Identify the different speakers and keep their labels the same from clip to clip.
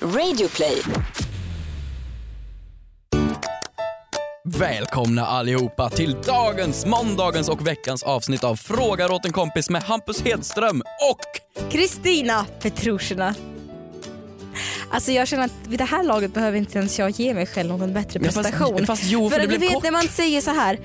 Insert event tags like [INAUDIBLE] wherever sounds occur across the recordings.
Speaker 1: Radioplay.
Speaker 2: Välkomna allihopa till dagens, måndagens och veckans avsnitt av Frågar åt en kompis med Hampus Hedström och
Speaker 3: Kristina Petrushina. Alltså jag känner att vid det här laget behöver inte ens jag ge mig själv någon bättre
Speaker 2: Ja, fast-
Speaker 3: prestation.
Speaker 2: fast jo, för
Speaker 3: för
Speaker 2: det
Speaker 3: att du
Speaker 2: blev
Speaker 3: vet
Speaker 2: kort.
Speaker 3: när man säger så här.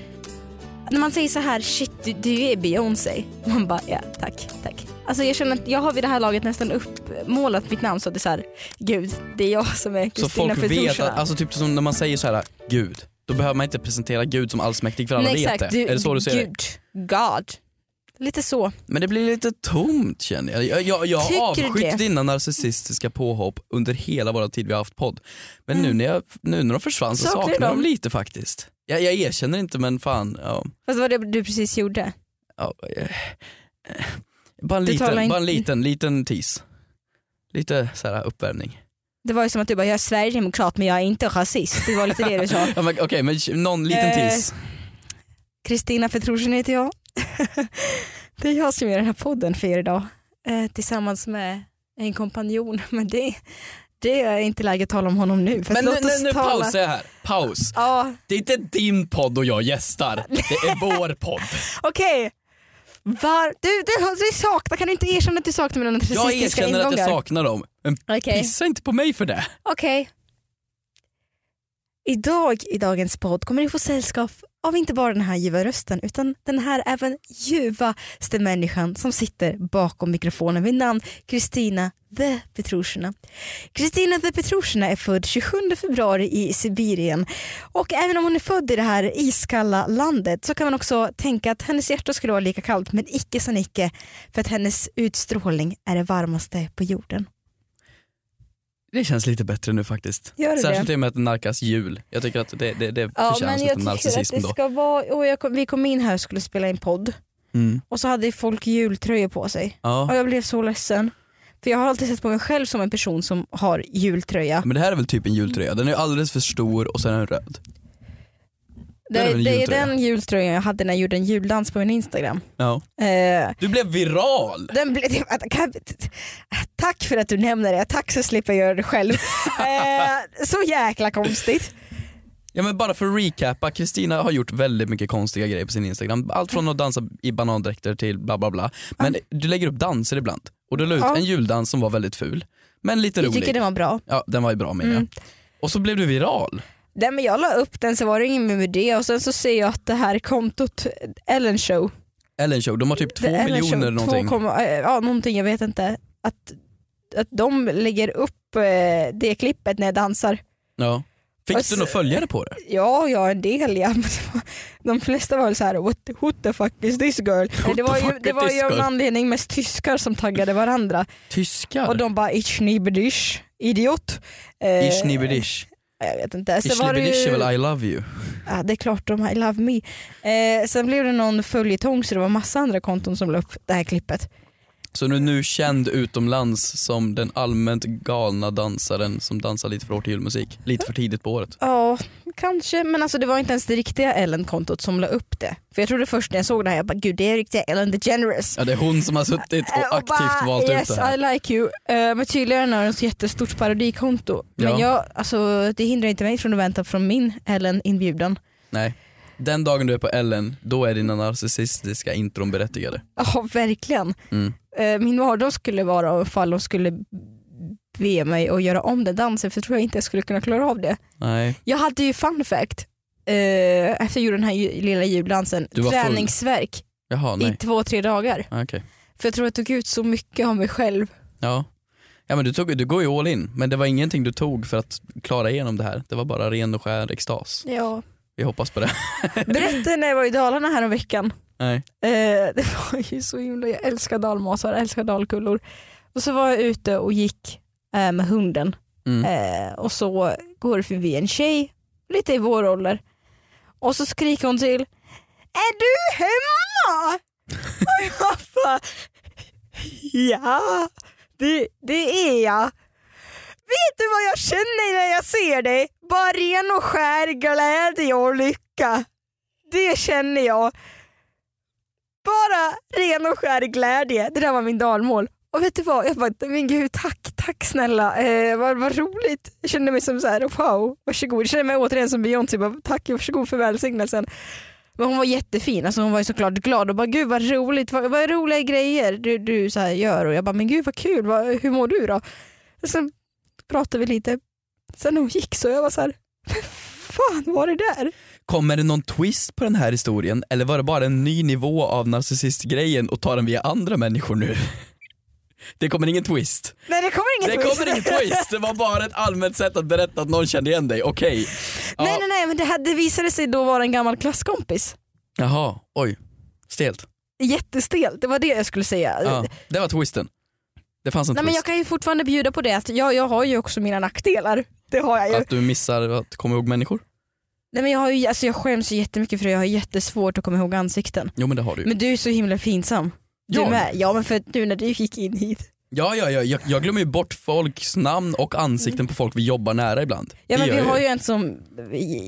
Speaker 3: När man säger så här, shit du, du är Beyoncé. Man bara, ja tack, tack. Alltså jag känner att jag har vid det här laget nästan uppmålat mitt namn så att det är så här, gud det är jag som är
Speaker 2: så
Speaker 3: Kristina
Speaker 2: folk vet
Speaker 3: Petrushina.
Speaker 2: att, alltså typ som när man säger så här, Gud, då behöver man inte presentera Gud som allsmäktig för alla
Speaker 3: Nej
Speaker 2: vet
Speaker 3: exakt,
Speaker 2: det.
Speaker 3: du,
Speaker 2: är det så du ser det?
Speaker 3: gud, God. Lite så.
Speaker 2: Men det blir lite tomt känner jag. Jag, jag, jag har
Speaker 3: Tycker du
Speaker 2: avskytt
Speaker 3: det?
Speaker 2: dina narcissistiska påhopp under hela vår tid vi har haft podd. Men nu, när jag, nu när de försvann så
Speaker 3: Mm. Saknar
Speaker 2: saknar
Speaker 3: du
Speaker 2: jag dem
Speaker 3: dem?
Speaker 2: lite faktiskt. Jag, jag erkänner inte men fan, ja.
Speaker 3: Fast vad det du precis gjorde.
Speaker 2: ja eh, eh, bara, en
Speaker 3: Du
Speaker 2: liten,
Speaker 3: talar inte-
Speaker 2: bara en liten, liten tis. Lite så här uppvärmning.
Speaker 3: Det var ju som att du bara, jag är sverigedemokrat men jag är inte rasist. Det var lite det du sa.
Speaker 2: Ja, men, Okej, men någon liten
Speaker 3: Eh,
Speaker 2: tis.
Speaker 3: Kristina Petrosjen heter jag. [LAUGHS] det är jag som gör den här podden för er idag. Eh, tillsammans med en kompanjon. [LAUGHS] Men det, det är inte läge att tala om honom nu. För
Speaker 2: Men
Speaker 3: att
Speaker 2: nu,
Speaker 3: låt oss
Speaker 2: nu, nu
Speaker 3: tala...
Speaker 2: pausar jag här. Paus.
Speaker 3: Ja,
Speaker 2: Det är inte din podd och jag gästar. Det
Speaker 3: [LAUGHS]
Speaker 2: är vår podd.
Speaker 3: okej. Var... Du, du, du saknar, kan du inte erkänna att du saknar mina narcissistiska
Speaker 2: Jag erkänner att jag
Speaker 3: ingångar?
Speaker 2: saknar dem. Men
Speaker 3: Okej.
Speaker 2: pissa inte på mig för det.
Speaker 3: Okej. Idag i dagens podd kommer ni få sällskap av inte bara den här ljuva rösten utan den här även ljuvaste människan som sitter bakom mikrofonen vid namn Kristina the Petrushina. Kristina the Petrushina är född 27 februari i Sibirien och även om hon är född i det här iskalla landet så kan man också tänka att hennes hjärta skulle vara lika kallt men icke sa Nicke för att hennes utstrålning är det varmaste på jorden.
Speaker 2: Det känns lite bättre nu faktiskt.
Speaker 3: Gör det
Speaker 2: Särskilt i och med att det nalkas jul. Jag tycker att det, det, det
Speaker 3: Ja,
Speaker 2: förtjänas
Speaker 3: men
Speaker 2: lite
Speaker 3: jag tycker att
Speaker 2: narcissism
Speaker 3: det
Speaker 2: då.
Speaker 3: ska vara... Och jag kom, vi kom in här och skulle spela in podd
Speaker 2: Mm.
Speaker 3: och så hade folk jultröjor på sig och
Speaker 2: Ja.
Speaker 3: jag blev så ledsen. För jag har alltid sett på mig själv som en person som har jultröja.
Speaker 2: Men det här är väl typ en jultröja. Den är alldeles för stor och sen är den röd.
Speaker 3: Det,
Speaker 2: är väl en
Speaker 3: det är
Speaker 2: jultröja?
Speaker 3: den jultröjan jag hade när jag gjorde en juldans på min Instagram.
Speaker 2: Ja.
Speaker 3: Eh,
Speaker 2: Du blev viral!
Speaker 3: den ble, det- kan- tack för att du nämner det, tack så slipper jag göra
Speaker 2: [LAUGHS]
Speaker 3: det själv. Eh, så jäkla konstigt.
Speaker 2: Ja men bara för att recapa, Kristina har gjort väldigt mycket konstiga grejer på sin Instagram. Allt från att dansa i bandräkter till bla bla bla. Men du lägger upp danser ibland. Och du la ut
Speaker 3: Ja.
Speaker 2: en juldans som var väldigt ful, men lite
Speaker 3: Jag
Speaker 2: rolig.
Speaker 3: tycker den var bra.
Speaker 2: Ja den var ju bra menar jag.
Speaker 3: Mm.
Speaker 2: Och så blev du viral.
Speaker 3: Nej, men jag la upp den så var det ingen mer med det och sen så ser jag att det här kontot Ellen show
Speaker 2: Ellen show, de har typ två
Speaker 3: Eller
Speaker 2: miljoner
Speaker 3: så-
Speaker 2: någonting.
Speaker 3: två komma- eh, ja, någonting, jag vet inte. Att, att de lägger upp eh, det klippet när jag dansar.
Speaker 2: Ja. Fick
Speaker 3: Och
Speaker 2: du
Speaker 3: så-
Speaker 2: några följare på det?
Speaker 3: Ja, ja en del ja. Men det var- [LAUGHS] De flesta var väl så här, what, the- what the fuck is this girl? Nej, det
Speaker 2: the
Speaker 3: var ju,
Speaker 2: fuck
Speaker 3: det
Speaker 2: is
Speaker 3: var
Speaker 2: this
Speaker 3: ju av
Speaker 2: girl?
Speaker 3: en anledning mest tyskar som taggade varandra.
Speaker 2: Tyskar?
Speaker 3: Och de bara ich nibedisch, idiot. Eh,
Speaker 2: Ish nibbidish.
Speaker 3: jag vet inte. Sen
Speaker 2: Ish
Speaker 3: var det,
Speaker 2: nibbidish är
Speaker 3: ju,
Speaker 2: väl I love you?
Speaker 3: ja, det är klart de har I love me. Eh, sen blev det någon följetong så det var massa andra konton som la upp det här klippet.
Speaker 2: Så du är nu känd utomlands som den allmänt galna dansaren som dansar lite för hårt till julmusik. Lite för tidigt på året.
Speaker 3: Ja, kanske. Men alltså det var inte ens det riktiga Ellen-kontot som la upp det. För jag trodde först när jag såg det här, jag bara gud det är riktiga Ellen DeGeneres.
Speaker 2: Ja det är hon som har suttit
Speaker 3: Eh,
Speaker 2: och aktivt
Speaker 3: bara,
Speaker 2: valt ut
Speaker 3: yes,
Speaker 2: det här.
Speaker 3: I like you. Eh, Men tydligen har den ett jättestort parodikonto.
Speaker 2: Ja.
Speaker 3: Men jag, alltså, det hindrar inte mig från att vänta från min Ellen-inbjudan.
Speaker 2: Nej. Den dagen du är på Ellen, då är dina narcissistiska intron berättigade.
Speaker 3: Ja verkligen.
Speaker 2: Mm.
Speaker 3: Eh, Min mardröm skulle vara ifall de skulle be mig att göra om den dansen för jag tror jag inte jag skulle kunna klara av det.
Speaker 2: Nej.
Speaker 3: Jag hade ju fun fact, eh, efter jag gjorde den här ju- lilla juldansen,
Speaker 2: Du var full.
Speaker 3: träningsverk
Speaker 2: Jaha,
Speaker 3: i
Speaker 2: nej. Ah,
Speaker 3: två tre dagar.
Speaker 2: Okej.
Speaker 3: För jag tror jag tog ut så mycket av mig själv.
Speaker 2: Ja. Ja men du, tog, du går ju all in, men det var ingenting du tog för att klara igenom det här. Det var bara ren och skär extas.
Speaker 3: Ja.
Speaker 2: Vi hoppas på det.
Speaker 3: Berätta när jag var i Dalarna här om veckan.
Speaker 2: Nej.
Speaker 3: Eh, det var ju så himla, jag älskar dalmasar, jag älskar dalkullor. Och så var jag ute och gick eh, med hunden
Speaker 2: Mm.
Speaker 3: eh, och så går det förbi en tjej, lite i vår ålder. Och så skriker hon till, är du hemma? och jag bara, ja det, det är jag. Vet du vad jag känner när jag ser dig? Bara ren och skär glädje och lycka. Det känner jag. Bara ren och skär glädje. Det där var min dalmål. Och vet du vad, jag bara, men gud tack, tack snälla, eh, vad, vad roligt. Jag kände mig som så här, wow, varsågod. Jag kände mig återigen som Beyoncé, bara, tack varsågod för välsignelsen. Men hon var jättefin, alltså hon var ju såklart glad och bara gud vad roligt, vad, vad roliga grejer du, du så här gör. Och jag bara men gud vad kul, vad, hur mår du då? Och sen pratade vi lite, sen när hon gick så jag var så här, "Men fan var det där?
Speaker 2: Kommer det någon twist på den här historien eller var det bara en ny nivå av narcissistgrejen och tar den via andra människor nu? [LAUGHS] Det kommer ingen twist.
Speaker 3: Nej det kommer inget
Speaker 2: Det
Speaker 3: twist.
Speaker 2: kommer ingen
Speaker 3: [LAUGHS]
Speaker 2: twist, det var bara ett allmänt sätt att berätta att någon kände igen dig, okej. Ja.
Speaker 3: Nej nej nej men det, här, det visade sig då vara en gammal klasskompis.
Speaker 2: Jaha, oj. Stelt.
Speaker 3: Jättestelt, det var det jag skulle säga.
Speaker 2: Ja, det var twisten. Det fanns en
Speaker 3: Äh. Nej, men
Speaker 2: twist.
Speaker 3: jag kan ju fortfarande bjuda på det att jag, jag har ju också mina nackdelar. Det har jag ju.
Speaker 2: Att du missar att komma ihåg människor?
Speaker 3: Nej, men jag, har ju alltså, jag skäms ju jättemycket för det. Jag har jättesvårt att komma ihåg ansikten.
Speaker 2: Jo men det har du ju.
Speaker 3: Men du är så himla pinsam. Du
Speaker 2: Jag?
Speaker 3: med. Ja men för att nu när du gick in hit.
Speaker 2: Ja, ja, ja, jag, jag glömmer ju bort folks namn och ansikten på folk vi jobbar nära ibland. Det
Speaker 3: Ja, men
Speaker 2: gör
Speaker 3: vi
Speaker 2: jag
Speaker 3: har ju en som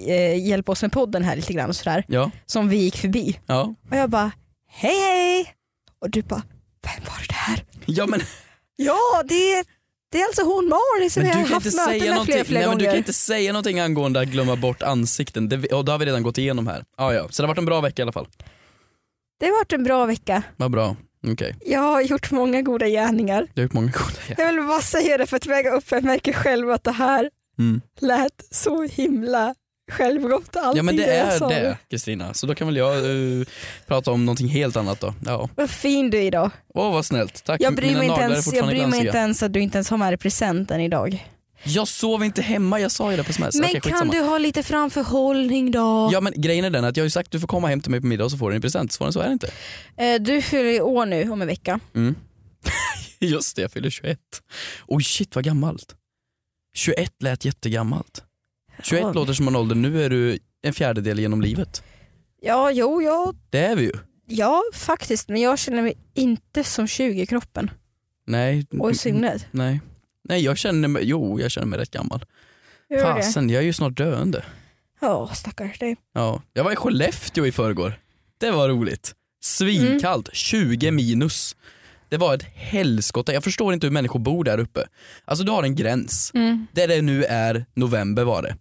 Speaker 3: eh, hjälper oss med podden här lite grann och sådär.
Speaker 2: Ja,
Speaker 3: Som vi gick förbi.
Speaker 2: ja.
Speaker 3: Och jag bara hej hej. Och du bara vem var det där?
Speaker 2: ja men,
Speaker 3: Ja det, det är alltså hon Malin som
Speaker 2: men
Speaker 3: jag
Speaker 2: du
Speaker 3: har
Speaker 2: kan
Speaker 3: haft
Speaker 2: inte
Speaker 3: möten
Speaker 2: säga
Speaker 3: med
Speaker 2: någonting.
Speaker 3: flera, flera
Speaker 2: Nej, men du
Speaker 3: gånger.
Speaker 2: kan inte säga någonting angående att glömma bort ansikten. Det, vi- och det har vi redan gått igenom här. Ja, ja. Så det har varit en bra vecka i alla fall.
Speaker 3: Det har varit en bra vecka.
Speaker 2: Vad bra. Okej,
Speaker 3: Jag har gjort många goda gärningar.
Speaker 2: du har gjort många goda
Speaker 3: [LAUGHS]
Speaker 2: grejer.
Speaker 3: Jag vill bara säga det för att väga upp, jag märker själv att det här
Speaker 2: Mm.
Speaker 3: lät så himla självgott allting
Speaker 2: Ja men det
Speaker 3: jag
Speaker 2: är
Speaker 3: sa.
Speaker 2: det Kristina. Så då kan väl jag eh, prata om någonting helt annat då. Ja.
Speaker 3: Vad fin du är idag.
Speaker 2: Åh vad snällt, tack.
Speaker 3: Jag bryr,
Speaker 2: Mina
Speaker 3: mig inte,
Speaker 2: naglar är
Speaker 3: ens, jag
Speaker 2: fortfarande
Speaker 3: bryr mig
Speaker 2: glansiga.
Speaker 3: inte ens att du inte ens har med dig presenten idag.
Speaker 2: Jag sov inte hemma, jag sa ju det på sms.
Speaker 3: Men
Speaker 2: Okej,
Speaker 3: kan
Speaker 2: skitsamma.
Speaker 3: du ha lite framförhållning då?
Speaker 2: Ja men grejen är den att jag har ju sagt du får komma hem till mig på middag och så får du en present. Svårare än så är det inte.
Speaker 3: Eh, Du fyller ju år nu om en vecka.
Speaker 2: Mm. [LAUGHS] Just det, jag fyller 21. Oj shit vad gammalt. 21 lät jättegammalt. 21
Speaker 3: Ja.
Speaker 2: låter som en ålder, nu är du en fjärdedel genom livet.
Speaker 3: Ja, jo, ja,
Speaker 2: Det är vi ju.
Speaker 3: ja faktiskt. Men jag känner mig inte som 20 i kroppen
Speaker 2: Nej.
Speaker 3: och i sinnet.
Speaker 2: Nej. Nej jag känner mig, jo jag känner mig rätt gammal.
Speaker 3: Gör du det?
Speaker 2: Fasen jag är ju snart döende.
Speaker 3: Ja, stackars dig.
Speaker 2: Ja. Jag var i Skellefteå i förrgår. Det var roligt. Svinkallt,
Speaker 3: Mm.
Speaker 2: 20 minus. Det var ett helskotta, jag förstår inte hur människor bor där uppe. Alltså du har en gräns.
Speaker 3: Mm.
Speaker 2: där det nu är november var det.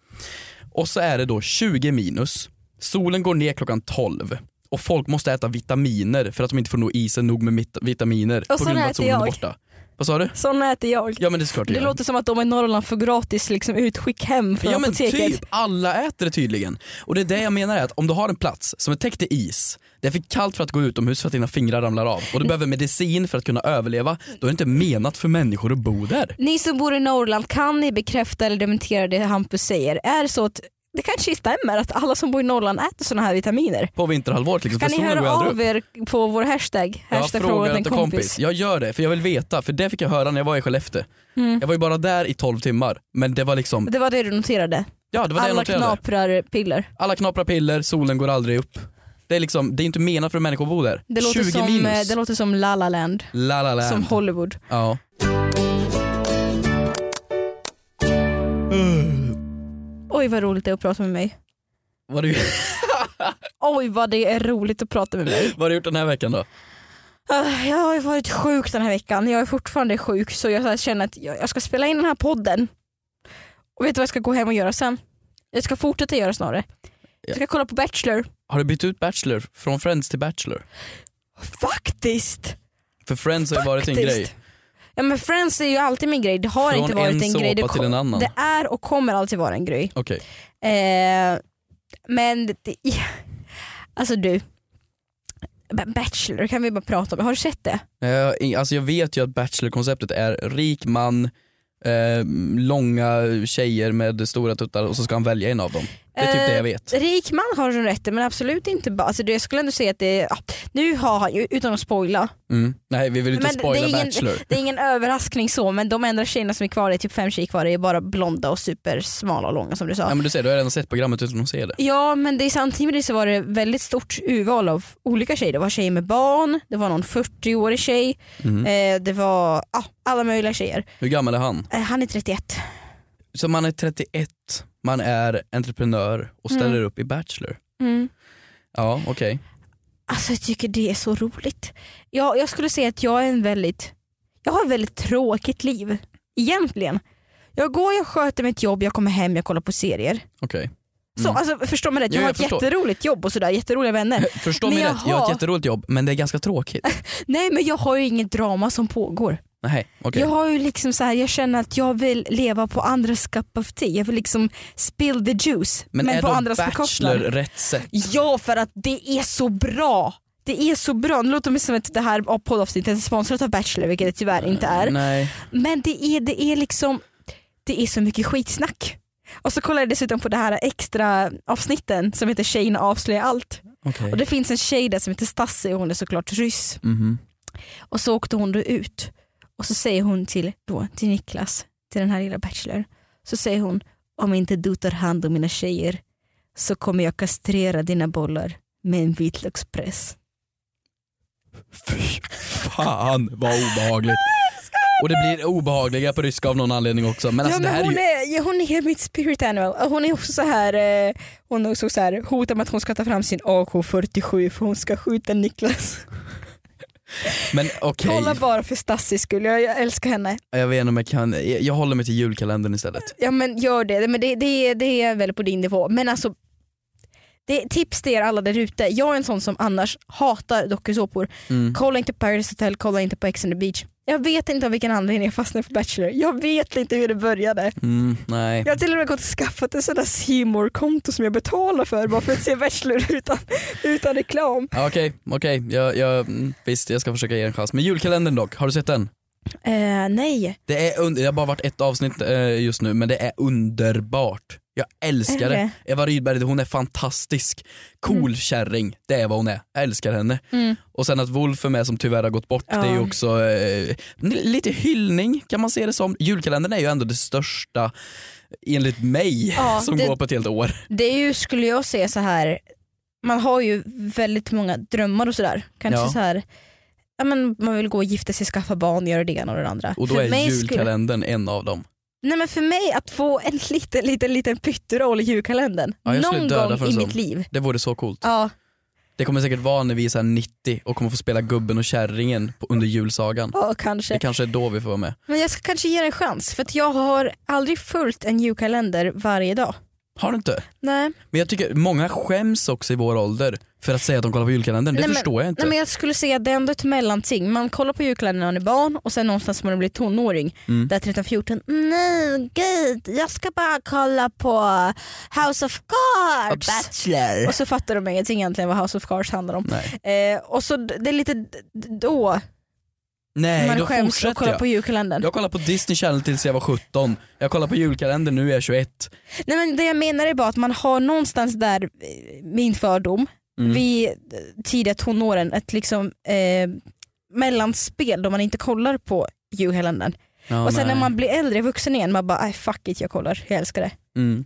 Speaker 2: Och så är det då 20 minus, solen går ner klockan 12 och folk måste äta vitaminer för att de inte får nå i sig nog med mit- vitaminer
Speaker 3: Och
Speaker 2: på
Speaker 3: sån
Speaker 2: grund av
Speaker 3: äter
Speaker 2: att solen är
Speaker 3: jag.
Speaker 2: borta. Vad sa du?
Speaker 3: Sån äter jag.
Speaker 2: Ja men det är såklart
Speaker 3: Det
Speaker 2: gör.
Speaker 3: låter som att de i Norrland får gratis liksom, utskick hem från
Speaker 2: Ja men
Speaker 3: apoteket.
Speaker 2: typ, alla äter det tydligen. Och det är det jag menar är att om du har en plats som är täckt i is, det är för kallt för att gå utomhus för att dina fingrar ramlar av och du behöver medicin för att kunna överleva, då är det inte menat för människor att bo där.
Speaker 3: Ni som bor i Norrland, kan ni bekräfta eller dementera det Hampus säger? Är det så att det kanske stämmer att alla som bor i Norrland äter sådana här vitaminer?
Speaker 2: På vinterhalvåret liksom,
Speaker 3: Kan
Speaker 2: för
Speaker 3: ni
Speaker 2: solen går ju
Speaker 3: höra
Speaker 2: aldrig upp.
Speaker 3: av er på vår hashtag?
Speaker 2: Jag
Speaker 3: Hashtag
Speaker 2: frågar
Speaker 3: frågat en
Speaker 2: åt
Speaker 3: kompis.
Speaker 2: Jag gör det, för jag vill veta, för det fick jag höra när jag var i Skellefteå.
Speaker 3: Mm.
Speaker 2: Jag var ju bara där i 12 timmar, men det var liksom,
Speaker 3: Det var det du noterade?
Speaker 2: ja det var det jag
Speaker 3: Alla
Speaker 2: noterade.
Speaker 3: knaprarpiller.
Speaker 2: Alla knaprar piller, solen går aldrig upp. Det är liksom, det är inte menat för människor att bo där.
Speaker 3: Det låter,
Speaker 2: 20
Speaker 3: som, eh,
Speaker 2: minus.
Speaker 3: det låter som La La Land,
Speaker 2: La la la.
Speaker 3: som Hollywood.
Speaker 2: Ja.
Speaker 3: Oj vad roligt det är att prata med mig.
Speaker 2: Vad har, du,
Speaker 3: Oj vad det är roligt att prata med mig.
Speaker 2: vad har du gjort den här veckan då?
Speaker 3: Ah, Jag har ju varit sjuk den här veckan. Jag är fortfarande sjuk så jag så här känner att jag jag ska spela in den här podden. Och vet du vad jag ska gå hem och göra sen? Jag ska fortsätta göra snarare. Jag ska kolla på Bachelor.
Speaker 2: Har du bytt ut Bachelor från Friends till Bachelor?
Speaker 3: Faktiskt!
Speaker 2: För Friends har ju varit en
Speaker 3: Faktiskt.
Speaker 2: grej.
Speaker 3: Ja men Friends är ju alltid min grej. Det har
Speaker 2: Från
Speaker 3: inte varit
Speaker 2: en
Speaker 3: en, grej. Det,
Speaker 2: såpa till
Speaker 3: ko-
Speaker 2: en annan.
Speaker 3: det är och kommer alltid vara en grej.
Speaker 2: Okej,
Speaker 3: Eh, men det, [LAUGHS] ja. alltså du. B- Bachelor kan vi bara prata om. Har du sett det?
Speaker 2: Eh, i- alltså jag vet ju att Bachelor-konceptet är rik man, eh, långa tjejer med stora tuttar och så ska han välja en av dem. Det är typ
Speaker 3: Eh,
Speaker 2: det jag vet.
Speaker 3: Rik man har du rätt i, men absolut inte bara. Alltså, det- jag skulle ändå säga att det är, ja, nu har han ju, utan att spoila,
Speaker 2: Mm. Nej vi vill inte
Speaker 3: Men det-
Speaker 2: spoila
Speaker 3: det är ingen- [LAUGHS]
Speaker 2: Bachelor.
Speaker 3: det är ingen överraskning så men de enda tjejerna som är kvar, det är typ fem tjejer kvar, är bara blonda och supersmala och långa som du sa.
Speaker 2: Ja, men du ser, du har redan sett programmet utan att se det.
Speaker 3: Ja men det, samtidigt så var det väldigt stort urval av olika tjejer. Det var tjejer med barn, det var någon 40-årig tjej,
Speaker 2: Mm.
Speaker 3: eh, det var ja, alla möjliga tjejer.
Speaker 2: Hur gammal är han?
Speaker 3: Eh, han är 31.
Speaker 2: Så man är 31, man är entreprenör och ställer
Speaker 3: Mm.
Speaker 2: upp i Bachelor.
Speaker 3: Mm.
Speaker 2: Ja okej.
Speaker 3: Alltså jag tycker det är så roligt. Jag, jag skulle säga att jag är en väldigt, Jag har ett väldigt tråkigt liv. Egentligen. Jag går, jag sköter mitt jobb, jag kommer hem, jag kollar på serier.
Speaker 2: Okej.
Speaker 3: Så,
Speaker 2: Mm.
Speaker 3: alltså, förstår man rätt, jag
Speaker 2: Ja,
Speaker 3: har
Speaker 2: jag
Speaker 3: ett
Speaker 2: förstår.
Speaker 3: jätteroligt jobb och sådär,
Speaker 2: [LAUGHS]
Speaker 3: jätteroliga vänner.
Speaker 2: Förstå
Speaker 3: Men
Speaker 2: mig
Speaker 3: jag
Speaker 2: rätt, jag har
Speaker 3: har-
Speaker 2: ett jätteroligt jobb men det är ganska tråkigt.
Speaker 3: Nej men jag har ju inget drama som pågår.
Speaker 2: Nej, okej.
Speaker 3: Jag har ju liksom så här, jag känner att jag vill leva på andras cup of tea. Jag vill liksom spill the juice
Speaker 2: Men,
Speaker 3: men,
Speaker 2: är
Speaker 3: på
Speaker 2: då
Speaker 3: andras
Speaker 2: Bachelor
Speaker 3: bekostnad.
Speaker 2: rätt sätt?
Speaker 3: Ja för att det är så bra. Det är så bra. Nu låter det som att det här poddavsnittet är sponsrat av Bachelor vilket det tyvärr inte är.
Speaker 2: Nej.
Speaker 3: Men det är, det är liksom, det är så mycket skitsnack. Och så kollar jag dessutom på det här extra avsnitten som heter Tjejerna avslöjar allt.
Speaker 2: Okej.
Speaker 3: Och det finns en tjej där som heter Stassi och hon är såklart ryss.
Speaker 2: Mhm.
Speaker 3: Och så åkte hon då ut och så säger hon till, då, till Niklas, till den här lilla Bachelor, så säger hon om inte du tar hand om mina tjejer så kommer jag kastrera dina bollar med en vitlökspress.
Speaker 2: Fy fan vad
Speaker 3: [LAUGHS]
Speaker 2: obehagligt. Och det blir obehagliga på ryska av någon anledning också. Men alltså
Speaker 3: ja,
Speaker 2: det här är
Speaker 3: men hon,
Speaker 2: ju...
Speaker 3: är, ja, hon är mitt spirit animal. Och Hon är också så här, eh, hon är också så här, hotar med att hon ska ta fram sin AK47 för hon ska skjuta Niklas.
Speaker 2: Men okej,
Speaker 3: Kolla bara för Stassis skull, jag, jag älskar henne.
Speaker 2: jag vet inte om jag kan... Jag jag håller mig till julkalendern istället.
Speaker 3: Ja men gör det, men det, det, är- det är väl på din nivå. Men alltså, det, tips till er alla där ute. Jag är en sån som annars hatar dokusåpor.
Speaker 2: Mm.
Speaker 3: Kolla inte på Paradise Hotel, kolla inte på Ex on the beach. Jag vet inte av vilken anledning jag fastnade för Bachelor. Jag vet inte hur det började.
Speaker 2: Mm, nej.
Speaker 3: Jag har till och med gått och skaffat ett sånt där C More-konto som jag betalar för bara för att se Bachelor [LAUGHS] utan, utan reklam.
Speaker 2: Ja, Okej, okej. Jag, jag, mm, visst jag ska försöka ge en chans. Men julkalendern dock, har du sett den?
Speaker 3: Eh, nej.
Speaker 2: Det är under, det har bara varit ett avsnitt eh, just nu men det är underbart. Jag älskar
Speaker 3: Är
Speaker 2: det.
Speaker 3: det?
Speaker 2: Eva Rydberg hon är fantastisk. Cool kärring, det är vad hon är. Jag älskar henne.
Speaker 3: Mm.
Speaker 2: Och sen att Wolf är med som tyvärr har gått bort,
Speaker 3: Ja.
Speaker 2: det är ju också eh, lite hyllning kan man se det som. Julkalendern är ju ändå det största, enligt mig,
Speaker 3: Ja,
Speaker 2: som
Speaker 3: det-
Speaker 2: går på ett helt år.
Speaker 3: Det är ju, skulle jag säga så här man har ju väldigt många drömmar och sådär. Kanske
Speaker 2: Ja.
Speaker 3: så här, ja, men man vill gå och gifta sig, skaffa barn, göra det ena och det andra.
Speaker 2: Och då är
Speaker 3: skulle,
Speaker 2: julkalendern en av dem.
Speaker 3: nej men för mig att få en liten, liten, liten pytteroll i julkalendern.
Speaker 2: Ja, jag skulle
Speaker 3: någon
Speaker 2: döda
Speaker 3: gång
Speaker 2: för en
Speaker 3: i
Speaker 2: sån.
Speaker 3: mitt liv.
Speaker 2: Det vore så coolt.
Speaker 3: Ja,
Speaker 2: Det kommer säkert vara när vi är så här 90 och kommer få spela gubben och kärringen på, under julsagan.
Speaker 3: ja
Speaker 2: Det
Speaker 3: kanske.
Speaker 2: kanske är då vi får vara med.
Speaker 3: Men jag ska kanske ge det en chans för att jag har aldrig följt en julkalender varje dag.
Speaker 2: Har du inte?
Speaker 3: Nej,
Speaker 2: Men jag tycker många skäms också i vår ålder för att säga att de kollar på julkalendern. Det
Speaker 3: Nej, men-
Speaker 2: förstår jag inte.
Speaker 3: nej men jag skulle säga att det är ändå ett mellanting. Man kollar på julkalendern när man är barn och sen någonstans när man blir tonåring.
Speaker 2: Mm.
Speaker 3: Där 13-14, nej gud jag ska bara kolla på House of Cards.
Speaker 2: Bachelor.
Speaker 3: Och så fattar de ingenting egentligen vad House of Cards handlar om.
Speaker 2: Nej,
Speaker 3: Eh, och så d- det är lite d- d- då
Speaker 2: Nej
Speaker 3: man
Speaker 2: då
Speaker 3: skäms och
Speaker 2: fortsätter
Speaker 3: kollar
Speaker 2: jag.
Speaker 3: på julkalendern.
Speaker 2: Jag kollade på Disney Channel tills jag var 17. Jag kollar på julkalendern nu är jag 21.
Speaker 3: Nej, men det jag menar är bara att man har någonstans där eh, min fördom
Speaker 2: Mm.
Speaker 3: vid eh, tidiga tonåren ett liksom, eh, mellanspel då man inte kollar på julkalendern.
Speaker 2: Ja,
Speaker 3: och sen
Speaker 2: nej.
Speaker 3: när man blir äldre, vuxen igen, man bara "Aj, fuck it jag kollar, jag älskar det.
Speaker 2: Mm.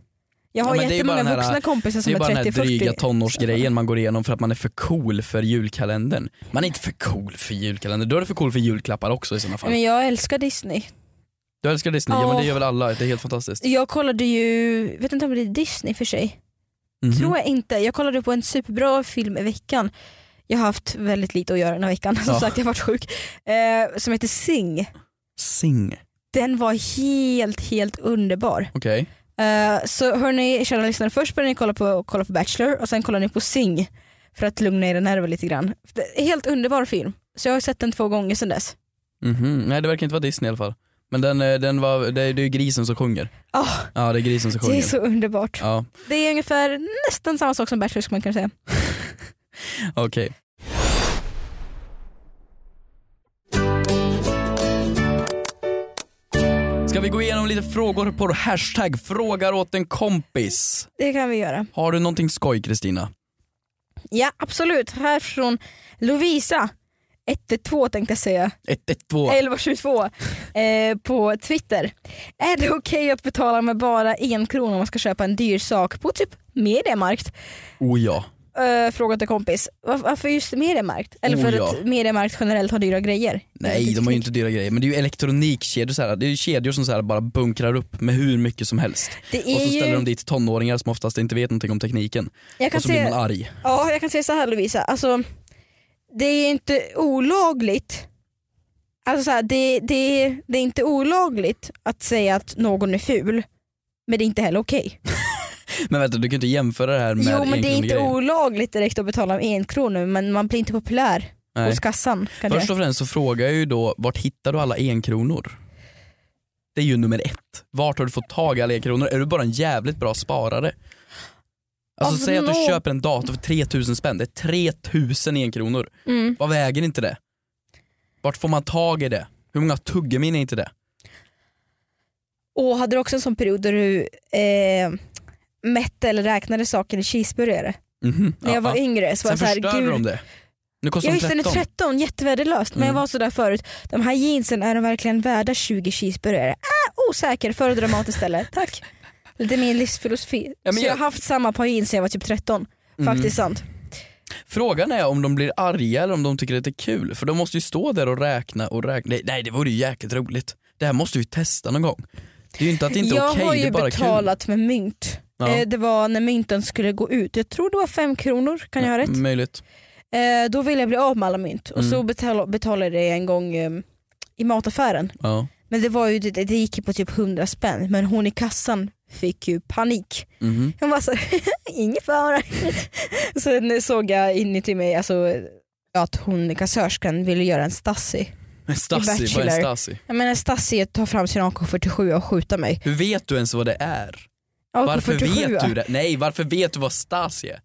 Speaker 3: Jag har
Speaker 2: Ja, men det är ju bara
Speaker 3: jättemånga
Speaker 2: den här-
Speaker 3: vuxna kompisar
Speaker 2: Det
Speaker 3: som
Speaker 2: är
Speaker 3: är,
Speaker 2: bara den här
Speaker 3: 30-40.
Speaker 2: dryga tonårsgrejen man går igenom för att man är för cool för julkalendern. Man är inte för cool för julkalendern, då är du för cool för julklappar också i sådana fall.
Speaker 3: Men jag älskar Disney.
Speaker 2: Du älskar Disney, ja
Speaker 3: Ja.
Speaker 2: men det gör väl alla, det är helt fantastiskt.
Speaker 3: Jag kollade ju, vet inte om det är Disney för sig,
Speaker 2: Mhm.
Speaker 3: tror jag inte. Jag kollade på en superbra film i veckan. Jag har haft väldigt lite att göra den här veckan, [LAUGHS] som
Speaker 2: Ja.
Speaker 3: sagt jag har varit sjuk. Eh, som heter Sing.
Speaker 2: Sing.
Speaker 3: Den var helt, helt underbar.
Speaker 2: Okej.
Speaker 3: Eh, så hörni, kära lyssnare, först börjar ni kolla på, kolla på Bachelor och sen kollar ni på Sing för att lugna era nerver lite grann. Det är helt underbar film. Så jag har sett den två gånger sedan dess.
Speaker 2: Mhm. Nej det verkar inte vara Disney i alla fall. Men den, eh, den var, det, är- det är ju grisen som sjunger.
Speaker 3: Ah,
Speaker 2: Ja det är grisen som
Speaker 3: det är
Speaker 2: sjunger.
Speaker 3: så underbart.
Speaker 2: Ja,
Speaker 3: Det är ungefär nästan samma sak som Bachelor skulle man kunna säga.
Speaker 2: okej. Ska vi gå igenom lite frågor på hashtag frågar åt en kompis?
Speaker 3: Det kan vi göra.
Speaker 2: Har du någonting skoj Kristina?
Speaker 3: Ja absolut, här från Lovisa 112 tänkte jag säga.
Speaker 2: 112.
Speaker 3: 1122 eh, på Twitter. Är det okej att betala med bara en krona om man ska köpa en dyr sak på typ Mediamarkt?
Speaker 2: Oh ja.
Speaker 3: Eh, fråga till kompis. Var, varför just Mediamarkt? Eller för
Speaker 2: Oh, ja.
Speaker 3: att Mediamarkt generellt har dyra grejer?
Speaker 2: Nej de har ju inte dyra grejer men det är ju elektronikkedjor så här. Det är ju kedjor som så här bara bunkrar upp med hur mycket som helst.
Speaker 3: Det
Speaker 2: Och
Speaker 3: är
Speaker 2: så ställer de
Speaker 3: ju,
Speaker 2: dit tonåringar som oftast inte vet någonting om tekniken.
Speaker 3: jag, kan
Speaker 2: Och så blir man
Speaker 3: säga,
Speaker 2: arg.
Speaker 3: ja, jag kan säga så här Lovisa, alltså, det är inte olagligt Alltså så här, det, det, det är inte olagligt att säga att någon är ful, men det är inte heller okej.
Speaker 2: Men vänta du kan inte jämföra det här med
Speaker 3: Jo men det är inte
Speaker 2: enkronegrejen.
Speaker 3: olagligt direkt att betala en krona men man blir inte populär
Speaker 2: Nej.
Speaker 3: hos kassan. Kan
Speaker 2: Först
Speaker 3: det?
Speaker 2: och främst så frågar jag ju då, vart hittar du alla enkronor? Det är ju nummer ett. Vart har du fått tag i alla enkronor? Är du bara en jävligt bra sparare? Alltså
Speaker 3: Alltså,
Speaker 2: säg att du
Speaker 3: nå-
Speaker 2: köper en dator för 3000 spänn, det är 3000 enkronor.
Speaker 3: Mm.
Speaker 2: Vad väger inte det? Vart får man tag i det? Hur många tuggummin är inte det?
Speaker 3: Och hade du också en sån period där du eh, mätte eller räknade saker i cheeseburgare?
Speaker 2: Mhm,
Speaker 3: När jag
Speaker 2: ja,
Speaker 3: var
Speaker 2: ja.
Speaker 3: yngre så var
Speaker 2: Sen
Speaker 3: jag så här,
Speaker 2: förstörde
Speaker 3: gud,
Speaker 2: de det. Nu kostar
Speaker 3: Jag
Speaker 2: de
Speaker 3: visste den
Speaker 2: 13.
Speaker 3: är 13, jättevärdelöst. Men
Speaker 2: Mm.
Speaker 3: jag var sådär förut, de här jeansen är de verkligen värda 20 cheeseburgare? Äh, osäker, föredrar
Speaker 2: [LAUGHS]
Speaker 3: mat istället. Tack. Det är min livsfilosofi.
Speaker 2: Ja, men
Speaker 3: så
Speaker 2: jag- Mm.
Speaker 3: jag har haft samma par jeans sedan jag var typ 13. Faktiskt sant.
Speaker 2: Frågan är om de blir arga eller om de tycker att det är kul. För de måste ju stå där och räkna och räkna. Nej, nej det vore ju jäkligt roligt. Det här måste vi testa någon gång. Det är ju inte att det inte är
Speaker 3: jag
Speaker 2: okej,
Speaker 3: har
Speaker 2: det är
Speaker 3: ju
Speaker 2: bara
Speaker 3: betalat med mynt.
Speaker 2: Ja.
Speaker 3: Eh, Det var när mynten skulle gå ut, jag tror det var 5 kronor, kan
Speaker 2: kul.
Speaker 3: jag ha rätt?
Speaker 2: Mm, Möjligt.
Speaker 3: Eh, Då ville jag bli av med alla mynt och så
Speaker 2: Mm.
Speaker 3: betal- betalade jag en gång eh, i mataffären.
Speaker 2: Ja.
Speaker 3: Men det, var ju, det, det gick ju på typ 100 spänn men hon i kassan fick ju panik.
Speaker 2: Mhm.
Speaker 3: Hon var så [LAUGHS] ingen [LAUGHS] fara. Sen såg jag inuti mig alltså, att hon, kassörskan ville göra en Stasi.
Speaker 2: En Stasi, vad är en
Speaker 3: Bachelor.
Speaker 2: Stasi?
Speaker 3: Jag menar Stasi är att ta fram sin AK47 och skjuta mig.
Speaker 2: Hur vet du ens vad det är?
Speaker 3: AK47.
Speaker 2: Varför vet du det? Nej, varför vet du vad Stasi är?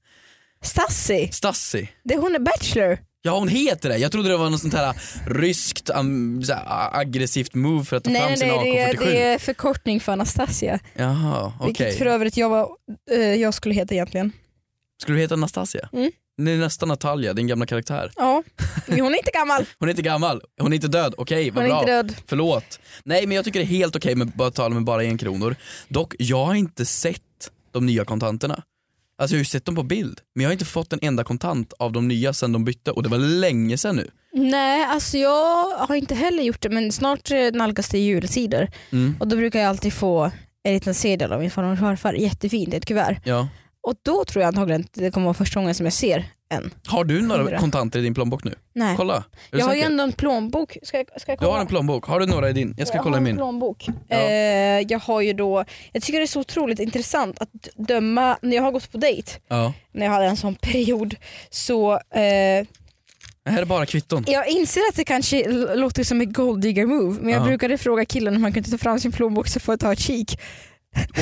Speaker 3: Stasi,
Speaker 2: Stasi?
Speaker 3: det är hon är bachelor.
Speaker 2: Ja hon heter det, jag trodde det var något sånt här ryskt am, så här, aggressivt move för att ta
Speaker 3: Nej,
Speaker 2: fram
Speaker 3: nej,
Speaker 2: sin
Speaker 3: nej det,
Speaker 2: AK47.
Speaker 3: är, det är förkortning för Anastasia.
Speaker 2: Jaha, okej.
Speaker 3: Vilket för övrigt jag, var, eh, jag skulle heta egentligen.
Speaker 2: Skulle du heta Anastasia?
Speaker 3: Mm.
Speaker 2: Det är nästan Natalia, din gamla karaktär. [LAUGHS]
Speaker 3: Ja, hon är inte gammal,
Speaker 2: Hon är inte gammal, hon är inte död, okej
Speaker 3: hon
Speaker 2: vad
Speaker 3: är
Speaker 2: bra,
Speaker 3: inte död.
Speaker 2: förlåt. Nej men jag tycker det är helt okej med att betala med bara en kronor. Dock, jag har inte sett de nya kontanterna. Alltså jag har ju sett dem på bild, men jag har inte fått en enda kontant av de nya sen de bytte och det var länge sen nu.
Speaker 3: Nej, alltså jag har inte heller gjort det men snart eh, nalkas det julsidor.
Speaker 2: Mm.
Speaker 3: Och då brukar jag alltid få en liten sedel av min farmor och farfar, jättefint, ett kuvert.
Speaker 2: Ja.
Speaker 3: Och då tror jag antagligen att det kommer vara första gången som jag ser en.
Speaker 2: Har du några
Speaker 3: Hundra.
Speaker 2: kontanter i din plånbok nu?
Speaker 3: Nej.
Speaker 2: Kolla, är du
Speaker 3: Jag har ju
Speaker 2: säker?
Speaker 3: ändå en plånbok. Ska jag, ska jag
Speaker 2: Du
Speaker 3: kolla?
Speaker 2: har en plånbok, har du några i din? Jag ska
Speaker 3: jag
Speaker 2: kolla i
Speaker 3: har en
Speaker 2: min.
Speaker 3: Plånbok.
Speaker 2: Ja.
Speaker 3: Eh, jag har ju då, jag tycker det är så otroligt intressant att d- döma, när jag har gått på dejt,
Speaker 2: Ja.
Speaker 3: när jag hade en sån period, så eh,
Speaker 2: Det här är bara kvitton.
Speaker 3: jag inser att det kanske l- låter som ett gold digger move men jag
Speaker 2: Ja.
Speaker 3: brukade fråga killen om han kunde ta fram sin plånbok så får jag ta ett kik.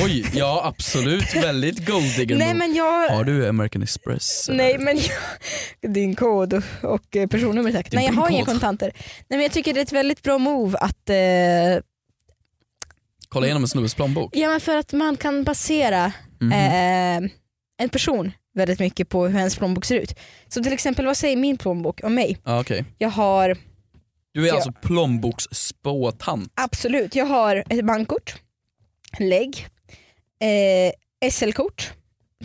Speaker 2: Oj, ja absolut, väldigt golddigger
Speaker 3: Nej
Speaker 2: move.
Speaker 3: men jag,
Speaker 2: Har du American Express?
Speaker 3: Nej men jag, din kod och, och eh, personnummer säkert.
Speaker 2: Din
Speaker 3: Nej jag har inga
Speaker 2: pinkod.
Speaker 3: kontanter. Nej men jag tycker det är ett väldigt bra move att, eh,
Speaker 2: Kolla igenom en snubbes plånbok.
Speaker 3: ja men för att man kan basera
Speaker 2: Mhm.
Speaker 3: eh, en person väldigt mycket på hur hennes plånbok ser ut. Så till exempel vad säger min plånbok om mig?
Speaker 2: Ja, Ah, okej.
Speaker 3: Jag har,
Speaker 2: Du är
Speaker 3: Ja.
Speaker 2: alltså plånboksspåtant.
Speaker 3: absolut, jag har ett bankkort, lägg, eh, SL-kort,